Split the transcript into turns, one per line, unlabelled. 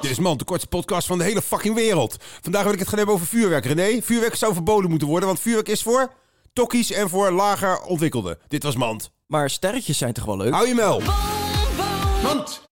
Dit is Man, de kortste podcast van de hele fucking wereld. Vandaag wil ik het gaan hebben over vuurwerk. René, vuurwerk zou verboden moeten worden, want vuurwerk is voor tokkies en voor lager ontwikkelden. Dit was Mand.
Maar sterretjes zijn toch wel leuk?
Hou je mel.